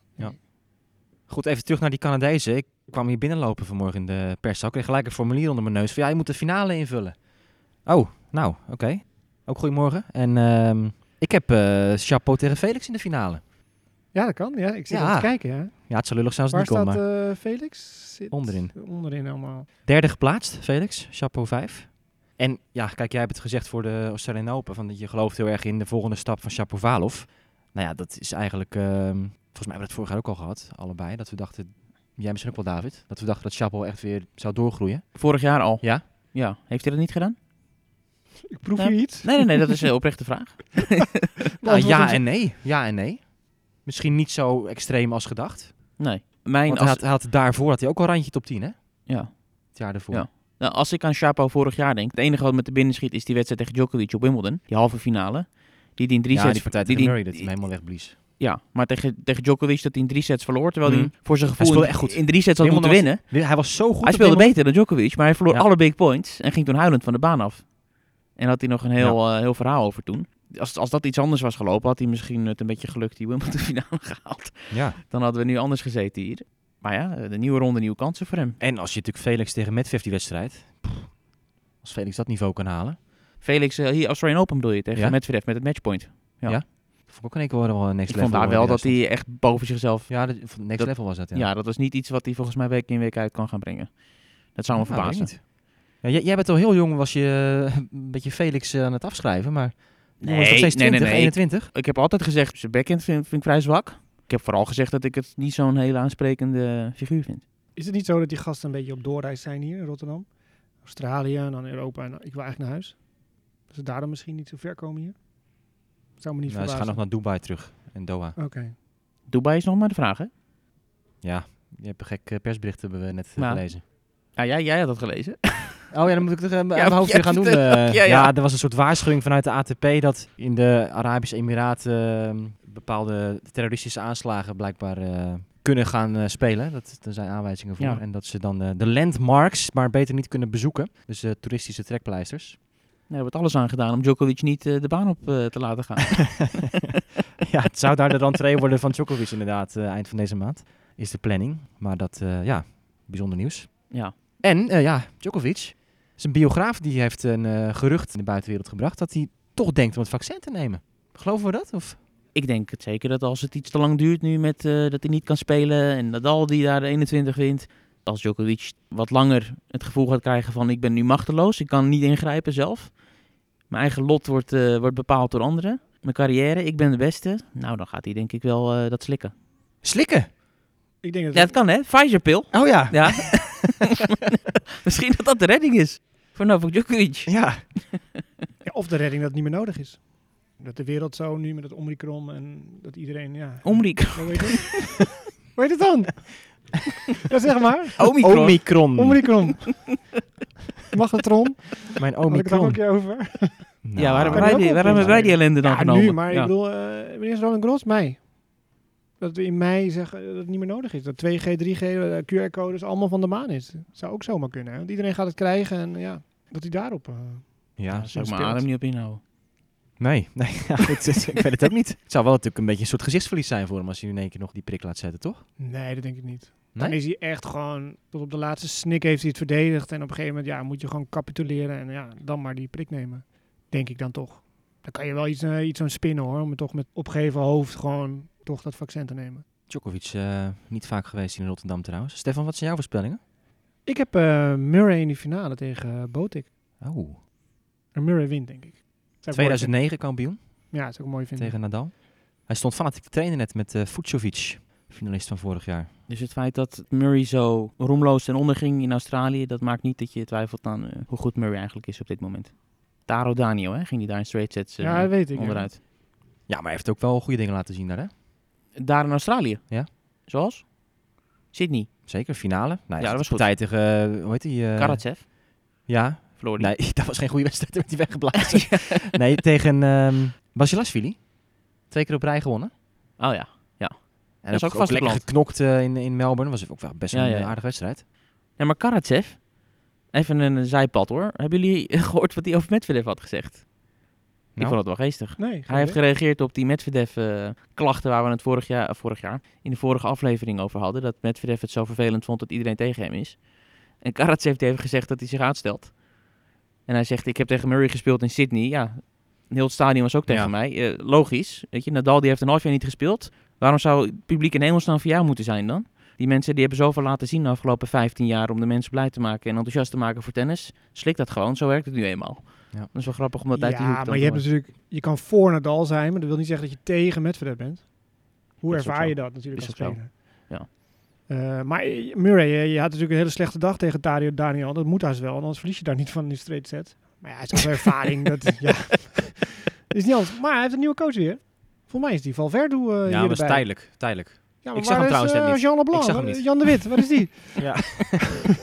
[SPEAKER 1] Goed, even terug naar die Canadezen. Ik kwam hier binnenlopen vanmorgen in de pers. Ik kreeg gelijk een formulier onder mijn neus van ja, je moet de finale invullen. Oh, nou, oké. Ook goedemorgen. En ehm, ik heb eh Chapeau tegen Felix in de finale.
[SPEAKER 3] Ja, dat kan. Ja, ik zit
[SPEAKER 1] Ja.
[SPEAKER 3] aan het kijken. Ja.
[SPEAKER 1] Ja, het zou lullig zijn als
[SPEAKER 3] Waar
[SPEAKER 1] het niet kon,
[SPEAKER 3] staat
[SPEAKER 1] maar
[SPEAKER 3] eh, Felix? Zit
[SPEAKER 1] onderin.
[SPEAKER 3] Onderin allemaal.
[SPEAKER 1] Derde geplaatst, Felix. Chapeau 5. En ja, kijk, jij hebt het gezegd voor de Australian Open. Van, dat je gelooft heel erg in de volgende stap van Shapovalov. Nou ja, dat is eigenlijk... ehm, volgens mij hebben we dat vorig jaar ook al gehad, allebei. Dat we dachten... Jij misschien ook wel, David. Dat we dachten dat Chapo echt weer zou doorgroeien.
[SPEAKER 4] Vorig jaar al.
[SPEAKER 1] Ja?
[SPEAKER 4] Ja. Heeft hij dat niet gedaan?
[SPEAKER 3] Ik proef
[SPEAKER 4] Ja.
[SPEAKER 3] hier iets.
[SPEAKER 4] Nee, nee, nee, dat is een oprechte vraag.
[SPEAKER 1] Nou,
[SPEAKER 3] Antwoord
[SPEAKER 1] ja
[SPEAKER 3] Ah, is-
[SPEAKER 1] en nee. Ja en nee. Misschien niet zo extreem als gedacht.
[SPEAKER 4] Nee. Mijn,
[SPEAKER 1] Want hij
[SPEAKER 4] als,
[SPEAKER 1] had, hij had daarvoor had hij ook al randje top 10, hè?
[SPEAKER 4] ja.
[SPEAKER 1] Het jaar daarvoor.
[SPEAKER 4] Ja. nou, als ik aan Chapo vorig jaar denk, het enige wat met de binnen schiet is die wedstrijd tegen Djokovic op Wimbledon. Die halve finale. Die die in drie
[SPEAKER 1] Ja,
[SPEAKER 4] sets...
[SPEAKER 1] die partij
[SPEAKER 4] die
[SPEAKER 1] tegen
[SPEAKER 4] die-
[SPEAKER 1] Murray, dat hij hem helemaal wegblies.
[SPEAKER 4] Ja, maar tegen, tegen Djokovic dat hij in drie sets verloor. Terwijl
[SPEAKER 1] Mhm.
[SPEAKER 4] hij voor zijn gevoel
[SPEAKER 1] speelde
[SPEAKER 4] in,
[SPEAKER 1] echt goed.
[SPEAKER 4] in drie sets had moeten
[SPEAKER 1] Wimbledon
[SPEAKER 4] winnen.
[SPEAKER 1] Hij was zo goed
[SPEAKER 4] hij
[SPEAKER 1] op
[SPEAKER 4] speelde
[SPEAKER 1] Wimbledon.
[SPEAKER 4] beter dan Djokovic, maar hij verloor
[SPEAKER 1] Ja.
[SPEAKER 4] alle big points en ging toen huilend van de baan af. En had hij nog een heel, eh, heel verhaal over toen. Als, als dat iets anders was gelopen, had hij misschien het een beetje gelukt die Wimbledon finale gehaald.
[SPEAKER 1] Ja.
[SPEAKER 4] Dan hadden we nu anders gezeten hier. Maar ja, eh, de nieuwe ronde, nieuwe kansen voor hem.
[SPEAKER 1] En als je natuurlijk Felix tegen Medvedev die wedstrijd. pff, als Felix dat niveau kan halen.
[SPEAKER 4] Felix, eh, hier Australian Open bedoel je, tegen
[SPEAKER 1] Ja.
[SPEAKER 4] Medvedev met het matchpoint.
[SPEAKER 1] Vond ik ook in één keer wel een next
[SPEAKER 4] Ik
[SPEAKER 1] level.
[SPEAKER 4] vond daar
[SPEAKER 1] eh,
[SPEAKER 4] wel dat
[SPEAKER 1] juist.
[SPEAKER 4] hij echt boven zichzelf...
[SPEAKER 1] Ja, dat, van next
[SPEAKER 4] dat-
[SPEAKER 1] level was dat. Ja,
[SPEAKER 4] Ja. dat was niet iets wat hij volgens mij week in week uit kan gaan brengen. Dat zou me
[SPEAKER 1] Nou,
[SPEAKER 4] verbazen.
[SPEAKER 1] weet ik niet. Ja, jij, jij bent al heel jong, was je eh, een beetje Felix eh, aan het afschrijven, maar nee, is nog steeds 20, 21.
[SPEAKER 4] Ik heb altijd gezegd, zijn backhand vind, vind ik vrij zwak. Ik heb vooral gezegd dat ik het niet zo'n hele aansprekende figuur vind.
[SPEAKER 3] Is het niet zo dat die gasten een beetje op doorreis zijn hier in Rotterdam? Australië en dan Europa en ik wil eigenlijk naar huis. Dat ze daarom misschien niet zo ver komen hier? Zou me niet
[SPEAKER 1] Nou, ze gaan
[SPEAKER 3] verbazen.
[SPEAKER 1] nog naar Dubai terug en Doha.
[SPEAKER 3] Oké.
[SPEAKER 4] Dubai is nog maar de vraag, hè?
[SPEAKER 1] Ja, je hebt een gek eh, persbericht hebben we net eh,
[SPEAKER 4] Nou.
[SPEAKER 1] gelezen.
[SPEAKER 4] Ah, jij, jij had dat gelezen.
[SPEAKER 1] Oh ja, dan moet ik het eh, uit
[SPEAKER 4] Ja,
[SPEAKER 1] mijn hoofd weer gaan doen.
[SPEAKER 4] vertel.
[SPEAKER 1] eh.
[SPEAKER 4] Ja, ja.
[SPEAKER 1] ja, er was een soort waarschuwing vanuit de ATP dat in de Arabische Emiraten eh, bepaalde terroristische aanslagen blijkbaar eh, kunnen gaan eh, spelen. Dat, er zijn aanwijzingen voor.
[SPEAKER 4] Ja.
[SPEAKER 1] En dat ze dan eh, de landmarks maar beter niet kunnen bezoeken. Dus eh, toeristische trekpleisters.
[SPEAKER 4] Nee, er wordt alles aan gedaan om Djokovic niet eh, de baan op eh, te laten gaan.
[SPEAKER 1] ja, het zou daar de rentree worden van Djokovic inderdaad eh, eind van deze maand. Is de planning. Maar dat, eh, ja, bijzonder nieuws.
[SPEAKER 4] ja.
[SPEAKER 1] En eh, ja, Djokovic. Zijn biograaf die heeft een eh, gerucht in de buitenwereld gebracht dat hij toch denkt om het vaccin te nemen. Geloven we dat? Of?
[SPEAKER 4] Ik denk het zeker dat als het iets te lang duurt nu met eh, dat hij niet kan spelen en Nadal die daar de 21 wint. Als Djokovic wat langer het gevoel gaat krijgen van ik ben nu machteloos, ik kan niet ingrijpen zelf. Mijn eigen lot wordt, eh, wordt bepaald door anderen. Mijn carrière, ik ben de beste. Nou, dan gaat hij denk ik wel eh, dat slikken.
[SPEAKER 1] Slikken!
[SPEAKER 3] Ik denk dat
[SPEAKER 4] Ja, dat kan hè, Pfizer-pil.
[SPEAKER 1] Oh ja.
[SPEAKER 4] Ja. Misschien dat dat de redding is voor Novak Djokovic.
[SPEAKER 1] Ja.
[SPEAKER 3] Ja, of de redding dat het niet meer nodig is. Dat de wereld zo nu met het Omicron en dat iedereen, ja...
[SPEAKER 4] Omrik.
[SPEAKER 3] Hoe heet het? Hoe heet het dan? ja, zeg maar.
[SPEAKER 4] Omicron.
[SPEAKER 1] Omicron.
[SPEAKER 3] Omicron. Magnetron.
[SPEAKER 1] Mijn
[SPEAKER 3] Had ik het daar ook een
[SPEAKER 1] Omicron.
[SPEAKER 3] keer over?
[SPEAKER 1] Nou.
[SPEAKER 4] Ja, waarom
[SPEAKER 3] Kan
[SPEAKER 4] hebben
[SPEAKER 3] ook
[SPEAKER 4] wij die,
[SPEAKER 3] op
[SPEAKER 4] waarom hebben wij die ellende dan
[SPEAKER 3] Ja,
[SPEAKER 4] genomen?
[SPEAKER 3] nu, maar
[SPEAKER 4] Ja.
[SPEAKER 3] ik bedoel, eh wanneer is Roland Gros? Mei. Dat we in mei zeggen dat het niet meer nodig is. Dat 2G, 3G, eh, QR-codes allemaal van de maan is. Zou ook zomaar kunnen. hè? Want iedereen gaat het krijgen en ja, dat hij daarop... eh,
[SPEAKER 1] Ja,
[SPEAKER 4] Zou ik
[SPEAKER 3] zo
[SPEAKER 4] mijn
[SPEAKER 3] speelt.
[SPEAKER 4] adem niet op nou. inhouden.
[SPEAKER 1] nee. nee ja, goed, ik weet het ook niet. Het zou wel natuurlijk een beetje een soort gezichtsverlies zijn voor hem als hij nu in één keer nog die prik laat zetten, toch?
[SPEAKER 3] Nee, dat denk ik niet.
[SPEAKER 1] Nee?
[SPEAKER 3] Dan is hij echt gewoon, tot op de laatste snik heeft hij het verdedigd. En op een gegeven moment ja, moet je gewoon capituleren en ja, dan maar die prik nemen. Denk ik dan toch. Dan kan je wel iets, eh, iets aan spinnen hoor, om het toch met opgeheven hoofd gewoon toch dat vaccin te nemen.
[SPEAKER 1] Djokovic, eh, niet vaak geweest in Rotterdam trouwens. Stefan, wat zijn jouw voorspellingen?
[SPEAKER 3] Ik heb eh, Murray in die finale tegen eh, Botik.
[SPEAKER 1] Oh.
[SPEAKER 3] En Murray wint denk ik. Zou ik mooi
[SPEAKER 1] 2009 kampioen
[SPEAKER 3] vinden. Ja, dat zou ik mooi vinden.
[SPEAKER 1] tegen Nadal. Hij stond fanatiek te trainen net met eh Fucovic, finalist van vorig jaar.
[SPEAKER 4] Dus het feit dat Murray zo roemloos ten onder ging in Australië, dat maakt niet dat je twijfelt aan eh, hoe goed Murray eigenlijk is op dit moment. Taro Daniel, hè? ging die daar in straight sets eh,
[SPEAKER 3] ja, dat weet ik. ja.
[SPEAKER 4] onderuit.
[SPEAKER 1] Ja, maar hij heeft ook wel goede dingen laten zien daar, hè?
[SPEAKER 4] Daar in Australië?
[SPEAKER 1] Ja.
[SPEAKER 4] Zoals? Sydney,
[SPEAKER 1] Zeker, finale. Nou,
[SPEAKER 4] Ja, dat was goed.
[SPEAKER 1] Partij tegen, eh, hoe heet die? eh,
[SPEAKER 4] Karatsev,
[SPEAKER 1] Ja,
[SPEAKER 4] verloor die.
[SPEAKER 1] nee, dat was geen goede wedstrijd, werd hij weggeblazen. nee, tegen ehm Basilashvili. Twee keer op rij gewonnen.
[SPEAKER 4] Oh ja.
[SPEAKER 1] En
[SPEAKER 4] Dat is ook vast
[SPEAKER 1] lekker
[SPEAKER 4] gepland.
[SPEAKER 1] geknokt eh, in, in Melbourne. Was ook wel best
[SPEAKER 4] Ja,
[SPEAKER 1] een
[SPEAKER 4] ja.
[SPEAKER 1] eh, aardige wedstrijd.
[SPEAKER 4] ja. Maar Karatsev, even een eh, zijpad hoor. Hebben jullie gehoord wat hij over Medvedev had gezegd? Ik
[SPEAKER 1] Nou.
[SPEAKER 4] vond het wel geestig.
[SPEAKER 3] Nee, geen
[SPEAKER 4] Hij heeft
[SPEAKER 3] idee.
[SPEAKER 4] gereageerd op die Medvedev-klachten waar we het vorig jaar, vorig jaar, in de vorige aflevering over hadden. Dat Medvedev het zo vervelend vond dat iedereen tegen hem is. En Karatsev heeft even gezegd dat hij zich uitstelt. En hij zegt, ik heb tegen Murray gespeeld in Sydney. Ja, een heel het stadion was ook tegen
[SPEAKER 1] Ja.
[SPEAKER 4] mij. Eh, logisch, weet je, Nadal die heeft een half jaar niet gespeeld. Waarom zou het publiek in Engelsland voor jou moeten zijn dan? Die mensen die hebben zoveel laten zien de afgelopen 15 jaar om de mensen blij te maken en enthousiast te maken voor tennis. Slik dat gewoon, zo werkt het nu eenmaal.
[SPEAKER 1] Ja.
[SPEAKER 4] Dat is wel grappig om dat uit die hoek
[SPEAKER 3] Ja,
[SPEAKER 4] dan
[SPEAKER 3] maar
[SPEAKER 4] te
[SPEAKER 3] je, hebt
[SPEAKER 4] horen.
[SPEAKER 3] natuurlijk, je kan voor Nadal zijn, maar dat wil niet zeggen dat je tegen Medvedev bent. Hoe
[SPEAKER 4] Dat is ook
[SPEAKER 3] ervaar
[SPEAKER 4] zo.
[SPEAKER 3] je dat natuurlijk
[SPEAKER 4] Is
[SPEAKER 3] als
[SPEAKER 4] ook zo.
[SPEAKER 3] speler?
[SPEAKER 4] Ja.
[SPEAKER 3] Eh, maar eh, Murray, eh, je had natuurlijk een hele slechte dag tegen Dario Daniel. Dat moet haast wel, anders verlies je daar niet van in de straight set. Maar ja, hij is ook ervaring. dat, ja. is niet anders. Maar hij heeft een nieuwe coach weer. Volgens mij is die Valverde eh ja,
[SPEAKER 1] ja,
[SPEAKER 3] hierbij.
[SPEAKER 1] maar dat is tijdelijk. Tijdelijk.
[SPEAKER 3] Ja,
[SPEAKER 1] Ik zag hem
[SPEAKER 3] waar is,
[SPEAKER 1] trouwens net
[SPEAKER 3] eh,
[SPEAKER 1] niet.
[SPEAKER 3] Jean Leblanc,
[SPEAKER 1] Ik zag hem
[SPEAKER 3] Waar-
[SPEAKER 1] niet.
[SPEAKER 3] Jan de Wit, waar is die?
[SPEAKER 1] Nee, dat was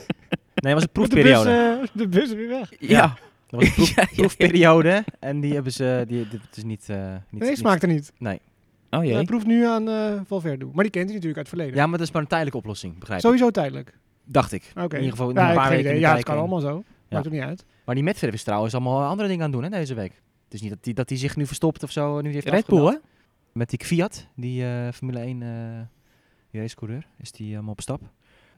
[SPEAKER 1] een
[SPEAKER 3] Met de bus,
[SPEAKER 1] proefperiode.
[SPEAKER 3] eh, de bus weer weg.
[SPEAKER 1] Ja.
[SPEAKER 4] ja.
[SPEAKER 1] Dat was een proef-
[SPEAKER 4] Ja, ja, ja.
[SPEAKER 1] proefperiode. En die hebben ze... Die, dit is niet... eh, niet
[SPEAKER 3] Nee,
[SPEAKER 1] niet-
[SPEAKER 3] smaakt er niet.
[SPEAKER 4] Oh jee.
[SPEAKER 3] Hij proeft nu aan eh, Valverde. Maar die kent hij natuurlijk uit het verleden.
[SPEAKER 1] Ja, maar dat is maar een tijdelijke oplossing, begrijp ik.
[SPEAKER 3] Sowieso tijdelijk.
[SPEAKER 1] Dacht ik.
[SPEAKER 3] Oké.
[SPEAKER 1] In ieder geval nog
[SPEAKER 3] ja,
[SPEAKER 1] een
[SPEAKER 3] ik
[SPEAKER 1] paar
[SPEAKER 3] geen
[SPEAKER 1] weken in
[SPEAKER 3] idee.
[SPEAKER 1] de
[SPEAKER 3] Ja, het
[SPEAKER 1] kijker.
[SPEAKER 3] kan allemaal zo.
[SPEAKER 1] Ja.
[SPEAKER 3] Maakt ook niet uit.
[SPEAKER 1] Maar die Medvedev is trouwens allemaal andere dingen aan het doen hè, deze week. Het is niet dat hij dat die zich nu verstopt of zo. Nu die heeft
[SPEAKER 4] Red Bull,
[SPEAKER 1] afgemeld.
[SPEAKER 4] hè?
[SPEAKER 1] Met die Fiat, die eh, Formule 1 eh die racecoureur, is die eh, allemaal op stap.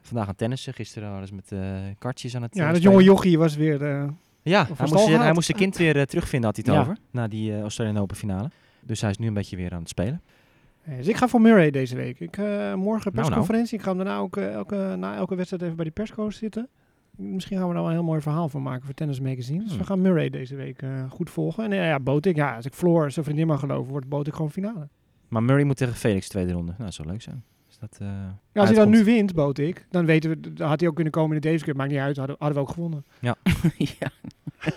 [SPEAKER 1] Vandaag aan tennissen, gisteren waren ze met eh, kartjes aan het
[SPEAKER 3] Ja,
[SPEAKER 1] eh,
[SPEAKER 3] dat
[SPEAKER 1] spelen.
[SPEAKER 3] jonge jochie was weer... eh,
[SPEAKER 1] Ja, hij
[SPEAKER 3] van stal
[SPEAKER 1] moest, zijn- hij
[SPEAKER 3] gehaald.
[SPEAKER 1] moest zijn kind weer eh, terugvinden, had hij het
[SPEAKER 4] Ja.
[SPEAKER 1] over. Na die eh Australian Open finale. Dus hij is nu een beetje weer aan het spelen.
[SPEAKER 3] eh, dus ik ga voor Murray deze week. Ik, eh, morgen
[SPEAKER 1] nou.
[SPEAKER 3] persconferentie. Ik ga hem daarna ook eh, elke, na elke wedstrijd even bij die perscoach zitten. Misschien gaan we daar wel een heel mooi verhaal van maken voor Tennis Magazine. Dus
[SPEAKER 1] Hmm.
[SPEAKER 3] we gaan Murray deze week eh, goed volgen. En eh, ja, Botik. Ja, als ik Floor zijn vriendin mag geloven, wordt Botik gewoon finale.
[SPEAKER 1] Maar Murray moet tegen Felix tweede ronde. Nou, dat zou leuk zijn. Dus dat, eh,
[SPEAKER 3] Ja, als hij dan
[SPEAKER 1] uitkomt.
[SPEAKER 3] nu wint, Botik, dan weten we... Dan had hij ook kunnen komen in de Davis Cup. Maakt niet uit, hadden, hadden we ook gewonnen.
[SPEAKER 4] ja.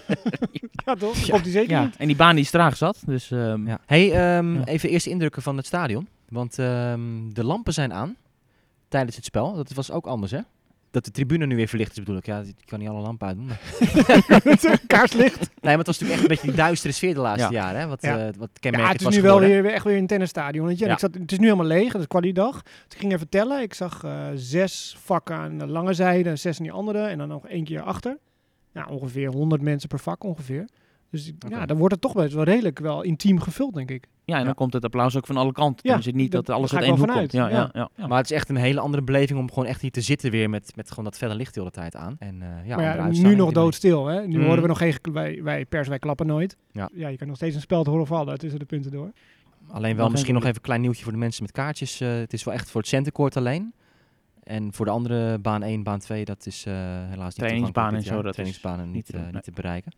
[SPEAKER 3] Ja, toch? Dan Komt hij zeker
[SPEAKER 4] ja.
[SPEAKER 3] niet.
[SPEAKER 4] En die baan die is traag zat. Dus ehm,
[SPEAKER 1] Ja. Hey, ehm,
[SPEAKER 4] Ja.
[SPEAKER 1] even eerst indrukken van het stadion. Want ehm, de lampen zijn aan tijdens het spel. Dat was ook anders, hè? Dat de tribune nu weer verlicht is, bedoel ik. Ja, ik kan niet alle lampen uitdoen. maar-
[SPEAKER 3] Kaarslicht.
[SPEAKER 1] Nee, maar het was natuurlijk echt een beetje die duistere sfeer de laatste
[SPEAKER 4] Ja.
[SPEAKER 1] jaren. Hè? Wat,
[SPEAKER 3] Ja.
[SPEAKER 1] eh, wat
[SPEAKER 3] Ja,
[SPEAKER 1] kenmerkend
[SPEAKER 3] het is
[SPEAKER 1] was
[SPEAKER 3] nu wel
[SPEAKER 1] geworden.
[SPEAKER 3] weer, weer echt weer een tennisstadion. weet je. En
[SPEAKER 1] Ja.
[SPEAKER 3] Ik zat, het is nu helemaal leeg, dat is qua die dag. Dus ik ging even tellen. Ik zag eh, zes vakken aan de lange zijde, zes aan die andere en dan nog één keer achter. Ja, ongeveer 100 mensen per vak ongeveer. Dus
[SPEAKER 1] Oké.
[SPEAKER 3] ja, dan wordt het toch best wel redelijk wel intiem gevuld, denk ik.
[SPEAKER 4] Ja, en dan
[SPEAKER 1] Ja.
[SPEAKER 4] komt het applaus ook van alle kanten.
[SPEAKER 3] Ja,
[SPEAKER 4] dus het niet
[SPEAKER 3] dat-
[SPEAKER 4] dat alles
[SPEAKER 3] daar
[SPEAKER 4] uit
[SPEAKER 3] ga ik
[SPEAKER 4] één hoek
[SPEAKER 3] wel
[SPEAKER 4] komt. Ja,
[SPEAKER 3] vanuit.
[SPEAKER 4] ja, ja. ja.
[SPEAKER 1] Maar het is echt een hele andere beleving om gewoon echt hier te zitten weer met, met gewoon dat felle licht de hele tijd aan. En, eh, ja,
[SPEAKER 3] maar
[SPEAKER 1] andere
[SPEAKER 3] ja, nu
[SPEAKER 1] uitstraling
[SPEAKER 3] nog
[SPEAKER 1] op die
[SPEAKER 3] doodstil. Hè? Nu
[SPEAKER 1] Mm.
[SPEAKER 3] horen we nog geen... gekla- Wij, wij pers, wij klappen nooit.
[SPEAKER 1] Ja.
[SPEAKER 3] je kan nog steeds een speld horen vallen tussen de punten door.
[SPEAKER 1] manier. Alleen
[SPEAKER 4] Nog
[SPEAKER 1] wel
[SPEAKER 4] geen
[SPEAKER 1] misschien nog
[SPEAKER 4] publiek.
[SPEAKER 1] even een klein nieuwtje voor de mensen met kaartjes. Eh, het is wel echt voor het centenkoord alleen. En voor de andere baan 1, baan 2, dat is eh, helaas niet
[SPEAKER 4] Trainingsbanen
[SPEAKER 1] toegankelijk dit
[SPEAKER 4] en zo,
[SPEAKER 1] jaar.
[SPEAKER 4] dat is
[SPEAKER 1] Trainingsbanen
[SPEAKER 4] niet
[SPEAKER 1] niet,
[SPEAKER 4] te
[SPEAKER 1] eh,
[SPEAKER 4] doen,
[SPEAKER 1] niet te bereiken.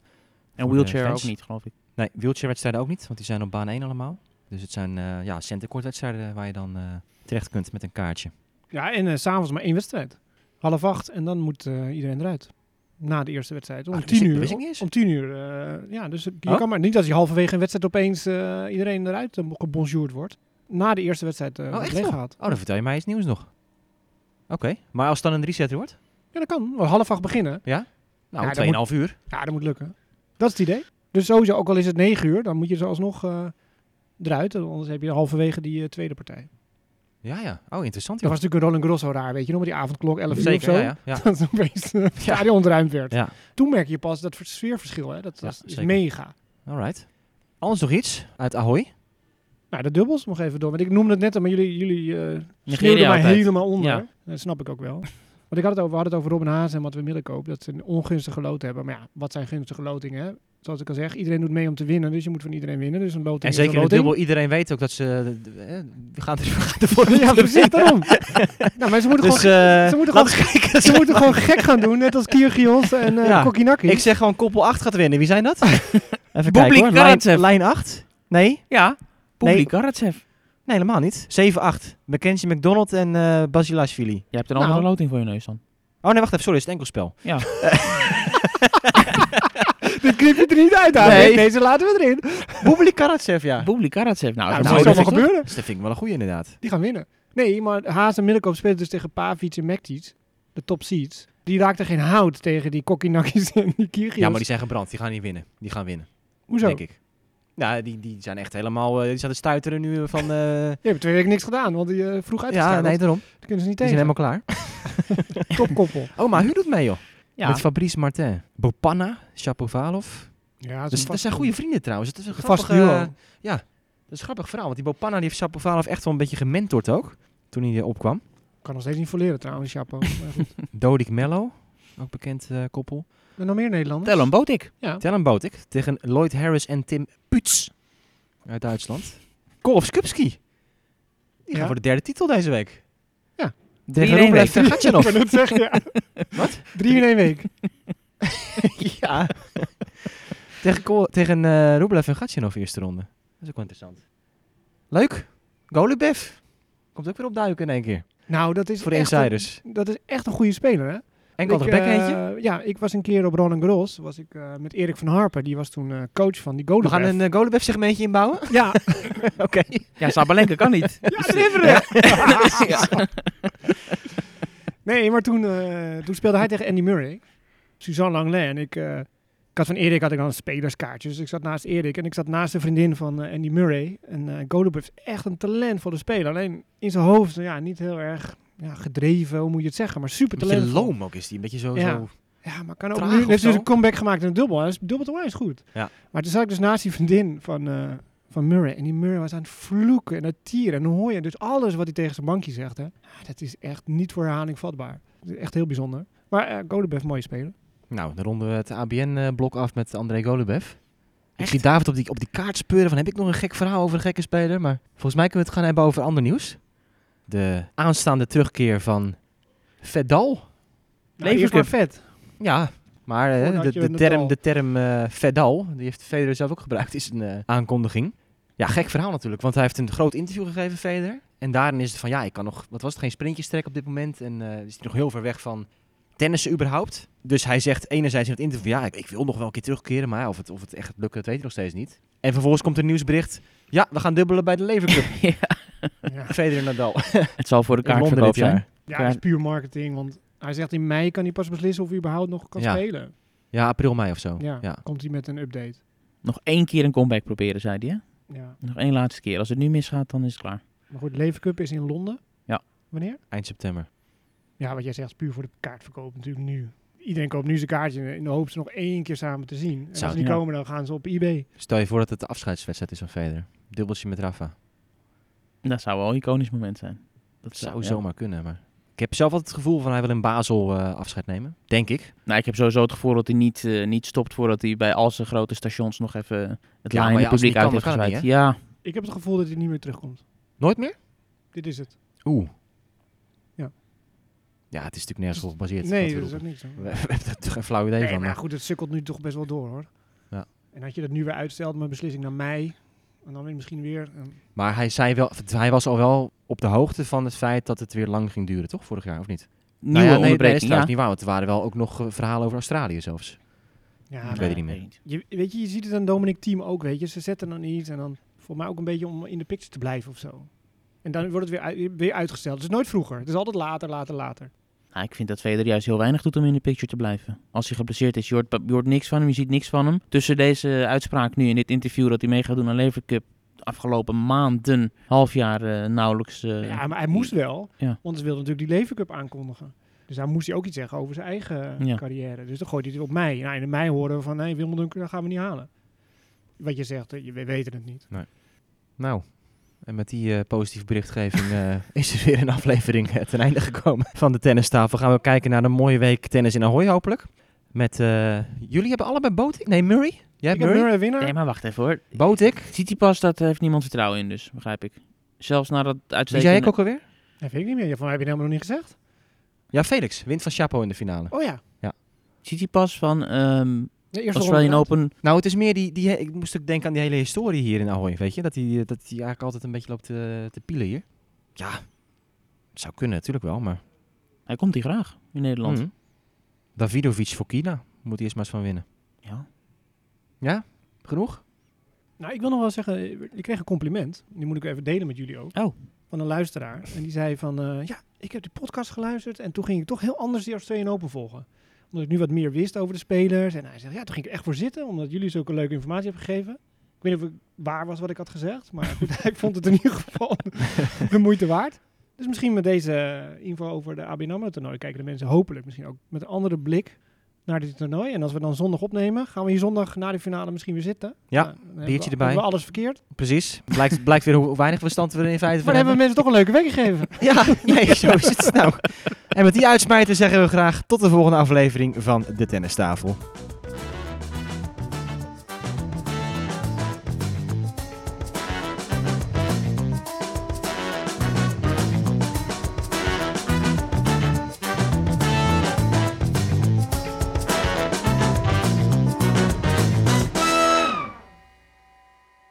[SPEAKER 4] en
[SPEAKER 1] de
[SPEAKER 4] wheelchair ook
[SPEAKER 1] fans.
[SPEAKER 4] niet, geloof ik.
[SPEAKER 1] Nee, wheelchairwedstrijden ook niet, want die zijn op baan 1 allemaal. Dus het zijn eh ja, centenkoordwedstrijden waar je dan eh, terecht kunt met een kaartje.
[SPEAKER 3] Ja, en eh, s s'avonds maar één wedstrijd. Half acht en dan moet eh, iedereen eruit. Na de eerste wedstrijd. Om
[SPEAKER 1] Ah, dat
[SPEAKER 3] tien
[SPEAKER 1] wist ik-
[SPEAKER 3] uur.
[SPEAKER 1] dat wist ik niet eens.
[SPEAKER 3] Om tien uur. eh, ja, dus je
[SPEAKER 1] Oh.
[SPEAKER 3] kan maar niet dat je halverwege een wedstrijd opeens eh, iedereen eruit eh, gebonjourd wordt. Na de eerste wedstrijd eh wordt
[SPEAKER 1] echt
[SPEAKER 3] leeg
[SPEAKER 1] joh?
[SPEAKER 3] gehaald.
[SPEAKER 1] Oh, dan vertel je mij iets nieuws nog. Oké, maar als het dan een resetter wordt?
[SPEAKER 3] Ja, dat kan. Want Half acht beginnen.
[SPEAKER 1] Nou,
[SPEAKER 3] Ja, dan
[SPEAKER 1] 2,5 uur.
[SPEAKER 3] Ja, dat moet lukken. Dat is het idee. Dus sowieso, ook al is het negen uur, dan moet je ze alsnog eh, eruit. Anders heb je halverwege die eh, tweede partij.
[SPEAKER 1] Ja, ja. Oh, interessant.
[SPEAKER 3] Dat
[SPEAKER 1] joh.
[SPEAKER 3] was natuurlijk Roland Grosso raar, weet je nog, met die avondklok 11 uur of
[SPEAKER 1] Zeker,
[SPEAKER 3] zo.
[SPEAKER 1] ja, ja, ja.
[SPEAKER 3] Dat het opeens eh, het stadion ontruimd werd.
[SPEAKER 1] Ja,
[SPEAKER 3] Toen merk je pas dat sfeerverschil, hè. Dat,
[SPEAKER 1] Ja,
[SPEAKER 3] dat is
[SPEAKER 1] zeker.
[SPEAKER 3] mega.
[SPEAKER 1] alright. Anders nog iets uit Ahoy?
[SPEAKER 3] Nou, de dubbels nog even door. Want ik noemde het net al, maar jullie, jullie eh schreeuwden
[SPEAKER 4] Nigeria
[SPEAKER 3] mij
[SPEAKER 4] altijd.
[SPEAKER 3] helemaal onder.
[SPEAKER 4] Ja.
[SPEAKER 3] Dat snap ik ook wel. Want ik had het over, we hadden het over Robin Haas en wat we middenkoop. Dat ze een ongunstige loting hebben. Maar ja, wat zijn gunstige lotingen, hè? Zoals ik al zeg, iedereen doet mee om te winnen. Dus je moet van iedereen winnen. Dus een loting
[SPEAKER 1] En
[SPEAKER 3] is een
[SPEAKER 1] zeker in het
[SPEAKER 3] loting.
[SPEAKER 1] dubbel, iedereen weet ook dat ze... eh, we gaan er, we gaan er voor de
[SPEAKER 3] Ja,
[SPEAKER 1] club.
[SPEAKER 3] precies, daarom. nou, maar ze moeten
[SPEAKER 1] Dus
[SPEAKER 3] gewoon...
[SPEAKER 1] eh,
[SPEAKER 3] ze moeten
[SPEAKER 1] laten we kijken.
[SPEAKER 3] Ze moeten gewoon gek gaan doen, net als Kyrgios en eh
[SPEAKER 1] Ja,
[SPEAKER 3] Kokinaki.
[SPEAKER 1] Ik zeg gewoon koppel 8 gaat winnen. Wie zijn dat? Even kijken
[SPEAKER 4] Boblik
[SPEAKER 1] hoor.
[SPEAKER 4] Karatsev.
[SPEAKER 1] Lijn,
[SPEAKER 3] eh.
[SPEAKER 1] lijn 8? Nee?
[SPEAKER 4] Ja,
[SPEAKER 1] Nee.
[SPEAKER 4] publiek Karatsev.
[SPEAKER 1] Nee, helemaal niet. 7-8. Mackenzie McDonald en eh Basilashvili.
[SPEAKER 4] Je hebt een
[SPEAKER 3] Nou.
[SPEAKER 4] andere loting voor je neus dan.
[SPEAKER 1] Oh nee, wacht even. Sorry, het is het enkelspel.
[SPEAKER 3] Dit knip je er niet uit, Daan.
[SPEAKER 1] Nee.
[SPEAKER 3] Deze laten we erin.
[SPEAKER 1] Boblik Karatsev, ja.
[SPEAKER 4] Publiek Karatsev. Nou,
[SPEAKER 3] Nou, dat
[SPEAKER 4] nou,
[SPEAKER 3] moet
[SPEAKER 1] dat
[SPEAKER 3] allemaal
[SPEAKER 1] is toch-
[SPEAKER 3] gebeuren.
[SPEAKER 1] Dus dat vind ik wel een goeie inderdaad.
[SPEAKER 3] Die gaan winnen. Nee, maar Haas en Middelkoop spelen dus tegen Pavic en Mektic, de top seeds. Die raakten geen hout tegen die Kokinakis en die Kyrgios.
[SPEAKER 1] Ja, maar die zijn gebrand. Die gaan niet winnen. Die gaan winnen,
[SPEAKER 3] Hoezo?
[SPEAKER 1] denk ik. Nou, die, die zijn echt helemaal... eh, die zaten stuiteren nu eh, van... eh,
[SPEAKER 3] Die hebben twee weken niks gedaan, want die eh vroeg
[SPEAKER 1] ja,
[SPEAKER 3] uitgeschakeld.
[SPEAKER 1] nee, daarom.
[SPEAKER 3] Dat kunnen ze niet
[SPEAKER 1] Die zijn
[SPEAKER 3] tegen.
[SPEAKER 1] helemaal klaar.
[SPEAKER 3] Topkoppel.
[SPEAKER 1] Oh, maar u doet mee, joh.
[SPEAKER 4] ja.
[SPEAKER 1] Met Fabrice Martin. Bopanna, Shapovalov.
[SPEAKER 3] Ja,
[SPEAKER 1] Dus Dat, dat zijn goede vrienden trouwens. Dat is een
[SPEAKER 3] Vast
[SPEAKER 1] grappig,
[SPEAKER 3] duo.
[SPEAKER 1] eh, dat is een grappig verhaal. Want die Bopanna die heeft Shapovalov echt wel een beetje gementord ook. Toen hij eh, opkwam.
[SPEAKER 3] Kan nog steeds niet volleren trouwens, Chapo. Maar goed.
[SPEAKER 1] Dodik Mello. Ook bekend eh, koppel.
[SPEAKER 3] En nog meer Nederlanders.
[SPEAKER 4] Tellen Botik.
[SPEAKER 1] Tellen Botik tegen Lloyd Harris en Tim Puts. Uit Duitsland. Kolovskupski. Die gaan
[SPEAKER 3] Ja.
[SPEAKER 1] voor de derde titel deze week.
[SPEAKER 3] Ja.
[SPEAKER 1] Tegen
[SPEAKER 4] 3-1
[SPEAKER 1] Rublev
[SPEAKER 4] week.
[SPEAKER 1] Vergatjanov.
[SPEAKER 3] Ik ben het zeggen, ja.
[SPEAKER 1] Wat?
[SPEAKER 3] Drie in één week.
[SPEAKER 1] ja. tegen Ko- tegen eh Rublev en Gatchinov eerste ronde. Dat is ook wel interessant. Leuk. Golubev. Komt ook weer opduiken in één keer.
[SPEAKER 3] Nou, dat is
[SPEAKER 1] Voor de
[SPEAKER 3] echt een-
[SPEAKER 1] insiders.
[SPEAKER 3] dat is echt een goede speler, hè?
[SPEAKER 1] Enkel
[SPEAKER 3] Ik,
[SPEAKER 1] bek
[SPEAKER 3] eh,
[SPEAKER 1] eentje.
[SPEAKER 3] ja, ik was een keer op Roland Garros. Was ik eh, met Erik van Harpen. Die was toen eh, coach van die
[SPEAKER 1] We
[SPEAKER 3] Golden
[SPEAKER 1] gaan een uh, Golubev segmentje inbouwen.
[SPEAKER 3] Ja,
[SPEAKER 1] Oké.
[SPEAKER 4] Ja, Sabalenka kan niet.
[SPEAKER 3] nee, maar toen, eh, toen speelde hij tegen Andy Murray. Suzanne Langlais. En ik, eh, ik had van Erik had ik dan spelerskaartjes. Ik zat naast Erik en ik zat naast de vriendin van eh, Andy Murray. En eh Golubov is echt een talentvolle speler. Alleen in zijn hoofd, ja, niet heel erg ja, gedreven, hoe moet je het zeggen. Maar super
[SPEAKER 1] Een beetje
[SPEAKER 3] talentvol.
[SPEAKER 1] loom ook is die. Een beetje zo...
[SPEAKER 3] Ja.
[SPEAKER 1] zo.
[SPEAKER 3] Ja, maar kan ook
[SPEAKER 1] Traag
[SPEAKER 3] nu.
[SPEAKER 1] of
[SPEAKER 3] Heeft dus
[SPEAKER 1] zo?
[SPEAKER 3] een comeback gemaakt in een dubbel. Hij is dubbel toernooi is goed.
[SPEAKER 1] Ja.
[SPEAKER 3] Maar toen zat ik dus naast die vriendin van, eh, van Murray. En die Murray was aan het vloeken en het tieren. En dan hoor je dus alles wat hij tegen zijn bankje zegt. Hè. Ja, Dat is echt niet voor herhaling vatbaar. Dat is echt heel bijzonder. Maar eh Godebef, mooie speler.
[SPEAKER 1] Nou, dan ronden we het ABN-blok eh, af met André Golubev. Ik zie David op die, op die kaart speuren van heb ik nog een gek verhaal over een gekke speler. Maar volgens mij kunnen we het gaan hebben over ander nieuws. De aanstaande terugkeer van Fedal.
[SPEAKER 3] Nou, eerst maar vet.
[SPEAKER 1] Ja, maar eh,
[SPEAKER 3] Voordat
[SPEAKER 1] de,
[SPEAKER 3] je
[SPEAKER 1] de
[SPEAKER 3] het al-
[SPEAKER 1] term, de term eh, Fedal, die heeft Federer zelf ook gebruikt in zijn eh, aankondiging. Ja, gek verhaal natuurlijk, want hij heeft een groot interview gegeven, Federer. En daarin is het van, ja, ik kan nog, wat was het, geen sprintjes trekken op dit moment. En eh, is hij nog heel ver weg van tennissen überhaupt. Dus hij zegt enerzijds in het interview, ja, ik, ik wil nog wel een keer terugkeren. Maar ja, of het, of het echt gaat lukken, dat weet hij nog steeds niet. En vervolgens komt er een nieuwsbericht. Ja, we gaan dubbelen bij de Levercup.
[SPEAKER 3] Ja.
[SPEAKER 1] Federer Nadal.
[SPEAKER 4] Het zal voor de
[SPEAKER 1] in Londen
[SPEAKER 4] kaartverkoop
[SPEAKER 1] dit jaar.
[SPEAKER 4] zijn.
[SPEAKER 3] ja, dat is puur marketing. Want hij zegt in mei kan hij pas beslissen of hij überhaupt nog kan
[SPEAKER 1] Ja.
[SPEAKER 3] spelen.
[SPEAKER 1] Ja, april, mei of zo.
[SPEAKER 3] Ja,
[SPEAKER 1] ja.
[SPEAKER 3] komt hij met een update.
[SPEAKER 4] Nog één keer een comeback proberen, zei hij. hè?
[SPEAKER 3] Ja.
[SPEAKER 4] Nog één laatste keer. Als het nu misgaat, dan is het klaar.
[SPEAKER 3] Maar goed, Leven Cup is in Londen.
[SPEAKER 4] Ja.
[SPEAKER 3] Wanneer?
[SPEAKER 1] Eind september.
[SPEAKER 3] Ja, wat jij zegt, puur voor de kaartverkoop natuurlijk nu. iedereen koopt nu zijn kaartje in de hoop ze nog één keer samen te zien. En
[SPEAKER 1] Zou-
[SPEAKER 3] als ze niet
[SPEAKER 4] ja.
[SPEAKER 3] komen, dan gaan ze op eBay.
[SPEAKER 1] Stel je voor dat het de afscheidswedstrijd is van Federer. Dubbeltje met Rafa.
[SPEAKER 4] Dat zou wel een iconisch moment zijn. Dat
[SPEAKER 1] Dat zou
[SPEAKER 4] ja.
[SPEAKER 1] zomaar kunnen, maar... Ik heb zelf altijd het gevoel van hij wil in Basel eh, afscheid nemen. Denk ik.
[SPEAKER 4] Nou, ik heb sowieso het gevoel dat hij niet, eh, niet stopt voordat hij bij al zijn grote stations nog even het
[SPEAKER 1] Ja, maar
[SPEAKER 4] laaiende
[SPEAKER 1] ja, als het
[SPEAKER 4] publiek
[SPEAKER 1] niet
[SPEAKER 4] uit
[SPEAKER 1] kan,
[SPEAKER 4] heeft
[SPEAKER 1] dan kan het
[SPEAKER 4] gezwaaid. ja,
[SPEAKER 3] Ik heb het gevoel dat hij niet meer terugkomt.
[SPEAKER 1] Nooit meer?
[SPEAKER 3] Dit is het.
[SPEAKER 1] Oeh.
[SPEAKER 3] Ja.
[SPEAKER 1] Ja, het is natuurlijk nergens op gebaseerd. wat
[SPEAKER 3] nee,
[SPEAKER 1] we
[SPEAKER 3] dat is ook
[SPEAKER 1] roepen.
[SPEAKER 3] niks. aan.
[SPEAKER 1] We, we hebben er toch geen flauw idee
[SPEAKER 3] Nee,
[SPEAKER 1] van.
[SPEAKER 3] maar
[SPEAKER 1] Maar
[SPEAKER 3] goed, het sukkelt nu toch best wel door hoor.
[SPEAKER 1] Ja.
[SPEAKER 3] En had je dat nu weer uitsteld, mijn beslissing naar mei. En dan weer misschien weer. en-
[SPEAKER 1] Maar hij, zei wel, hij was al wel op de hoogte van het feit dat het weer lang ging duren, toch? Vorig jaar, of niet?
[SPEAKER 4] nieuwe
[SPEAKER 1] nou ja, nee, dat is
[SPEAKER 4] onderbreking.
[SPEAKER 1] trouwens niet
[SPEAKER 4] ja.
[SPEAKER 1] waar. Want er waren wel ook nog eh, verhalen over Australië zelfs.
[SPEAKER 3] ja,
[SPEAKER 1] Ik
[SPEAKER 3] nou,
[SPEAKER 1] weet het niet meer.
[SPEAKER 3] je, weet je, je ziet het aan Dominic Team ook, weet je. Ze zetten dan iets en dan voor mij ook een beetje om in de picture te blijven of zo. En dan wordt het weer, uit- weer uitgesteld. Het is nooit vroeger. Het is altijd later, later, later.
[SPEAKER 4] Nou, ik vind dat Federer juist heel weinig doet om in de picture te blijven. Als hij geblesseerd is, je hoort, je hoort niks van hem, je ziet niks van hem. Tussen deze uitspraak nu in dit interview dat hij mee gaat doen aan Lever Cup... de afgelopen maanden, half jaar eh, nauwelijks... eh,
[SPEAKER 3] ja, maar hij moest wel.
[SPEAKER 4] Ja.
[SPEAKER 3] Want ze wilden natuurlijk die Levercup aankondigen. Dus daar moest hij ook iets zeggen over zijn eigen
[SPEAKER 4] Ja.
[SPEAKER 3] carrière. Dus dan gooit hij het op mij. Nou, en in mei horen we van, nee, Wimbledon dat gaan we niet halen. Wat je zegt, eh, je, we weten het niet.
[SPEAKER 1] Nou, en met die eh, positieve berichtgeving eh, is er weer een aflevering eh, ten einde gekomen van de tennistafel. Gaan we kijken naar een mooie week tennis in Ahoy hopelijk. Met, eh, jullie hebben allebei Botik? Nee, Murray? Jij hebt
[SPEAKER 3] Ik heb
[SPEAKER 1] Murray?
[SPEAKER 3] Murray winnaar.
[SPEAKER 4] Nee, maar wacht even hoor.
[SPEAKER 1] Botik?
[SPEAKER 4] Tsitsipas, dat eh, heeft niemand vertrouwen in dus, begrijp ik. Zelfs na dat
[SPEAKER 1] Die
[SPEAKER 4] uitstekende...
[SPEAKER 1] zei ik ook alweer?
[SPEAKER 3] Dat weet ik niet meer. Ja, Van, heb je het helemaal nog niet gezegd?
[SPEAKER 1] Ja, Felix. Wint van Chapo in de finale.
[SPEAKER 3] Oh ja.
[SPEAKER 4] Tsitsipas van ehm
[SPEAKER 3] De eerste
[SPEAKER 4] Australian
[SPEAKER 3] ronde.
[SPEAKER 4] Open
[SPEAKER 1] Nou, het is meer die, die... Ik moest ook denken aan die hele historie hier in Ahoy, weet je? Dat hij dat die eigenlijk altijd een beetje loopt eh, te pielen hier. Ja, het zou kunnen natuurlijk wel, maar...
[SPEAKER 4] Hij komt hier graag in Nederland.
[SPEAKER 1] Mm. Davidovic voor Kina. Moet hij eerst maar eens van winnen.
[SPEAKER 4] Ja.
[SPEAKER 1] Genoeg?
[SPEAKER 3] Nou, ik wil nog wel zeggen, eh, ik kreeg een compliment. Die moet ik even delen met jullie ook.
[SPEAKER 4] Oh.
[SPEAKER 3] Van een luisteraar. En die zei van, eh, ja, ik heb die podcast geluisterd. En toen ging ik toch heel anders die Australian Open volgen. Omdat ik nu wat meer wist over de spelers. En hij zegt, ja, toen ging ik er echt voor zitten. Omdat jullie zulke leuke informatie hebben gegeven. Ik weet niet of het waar was wat ik had gezegd. Maar goed, hij vond het in ieder geval de moeite waard. Dus misschien met deze eh, info over de ABN AMRO toernooi kijken de mensen hopelijk misschien ook met een andere blik naar dit toernooi. En als we dan zondag opnemen, gaan we hier zondag na de finale misschien weer zitten.
[SPEAKER 1] Ja,
[SPEAKER 3] Nou, dan hebben
[SPEAKER 1] biertje
[SPEAKER 3] we-
[SPEAKER 1] erbij.
[SPEAKER 3] Hebben we alles verkeerd.
[SPEAKER 1] Precies. Blijkt, blijkt weer hoe weinig verstand we er in feite
[SPEAKER 3] Maar
[SPEAKER 1] van
[SPEAKER 3] dan hebben
[SPEAKER 1] hebben.
[SPEAKER 3] we mensen toch een leuke week gegeven.
[SPEAKER 1] Ja, nee, zo is het nou. En met die uitsmijter zeggen we graag tot de volgende aflevering van De Tennistafel.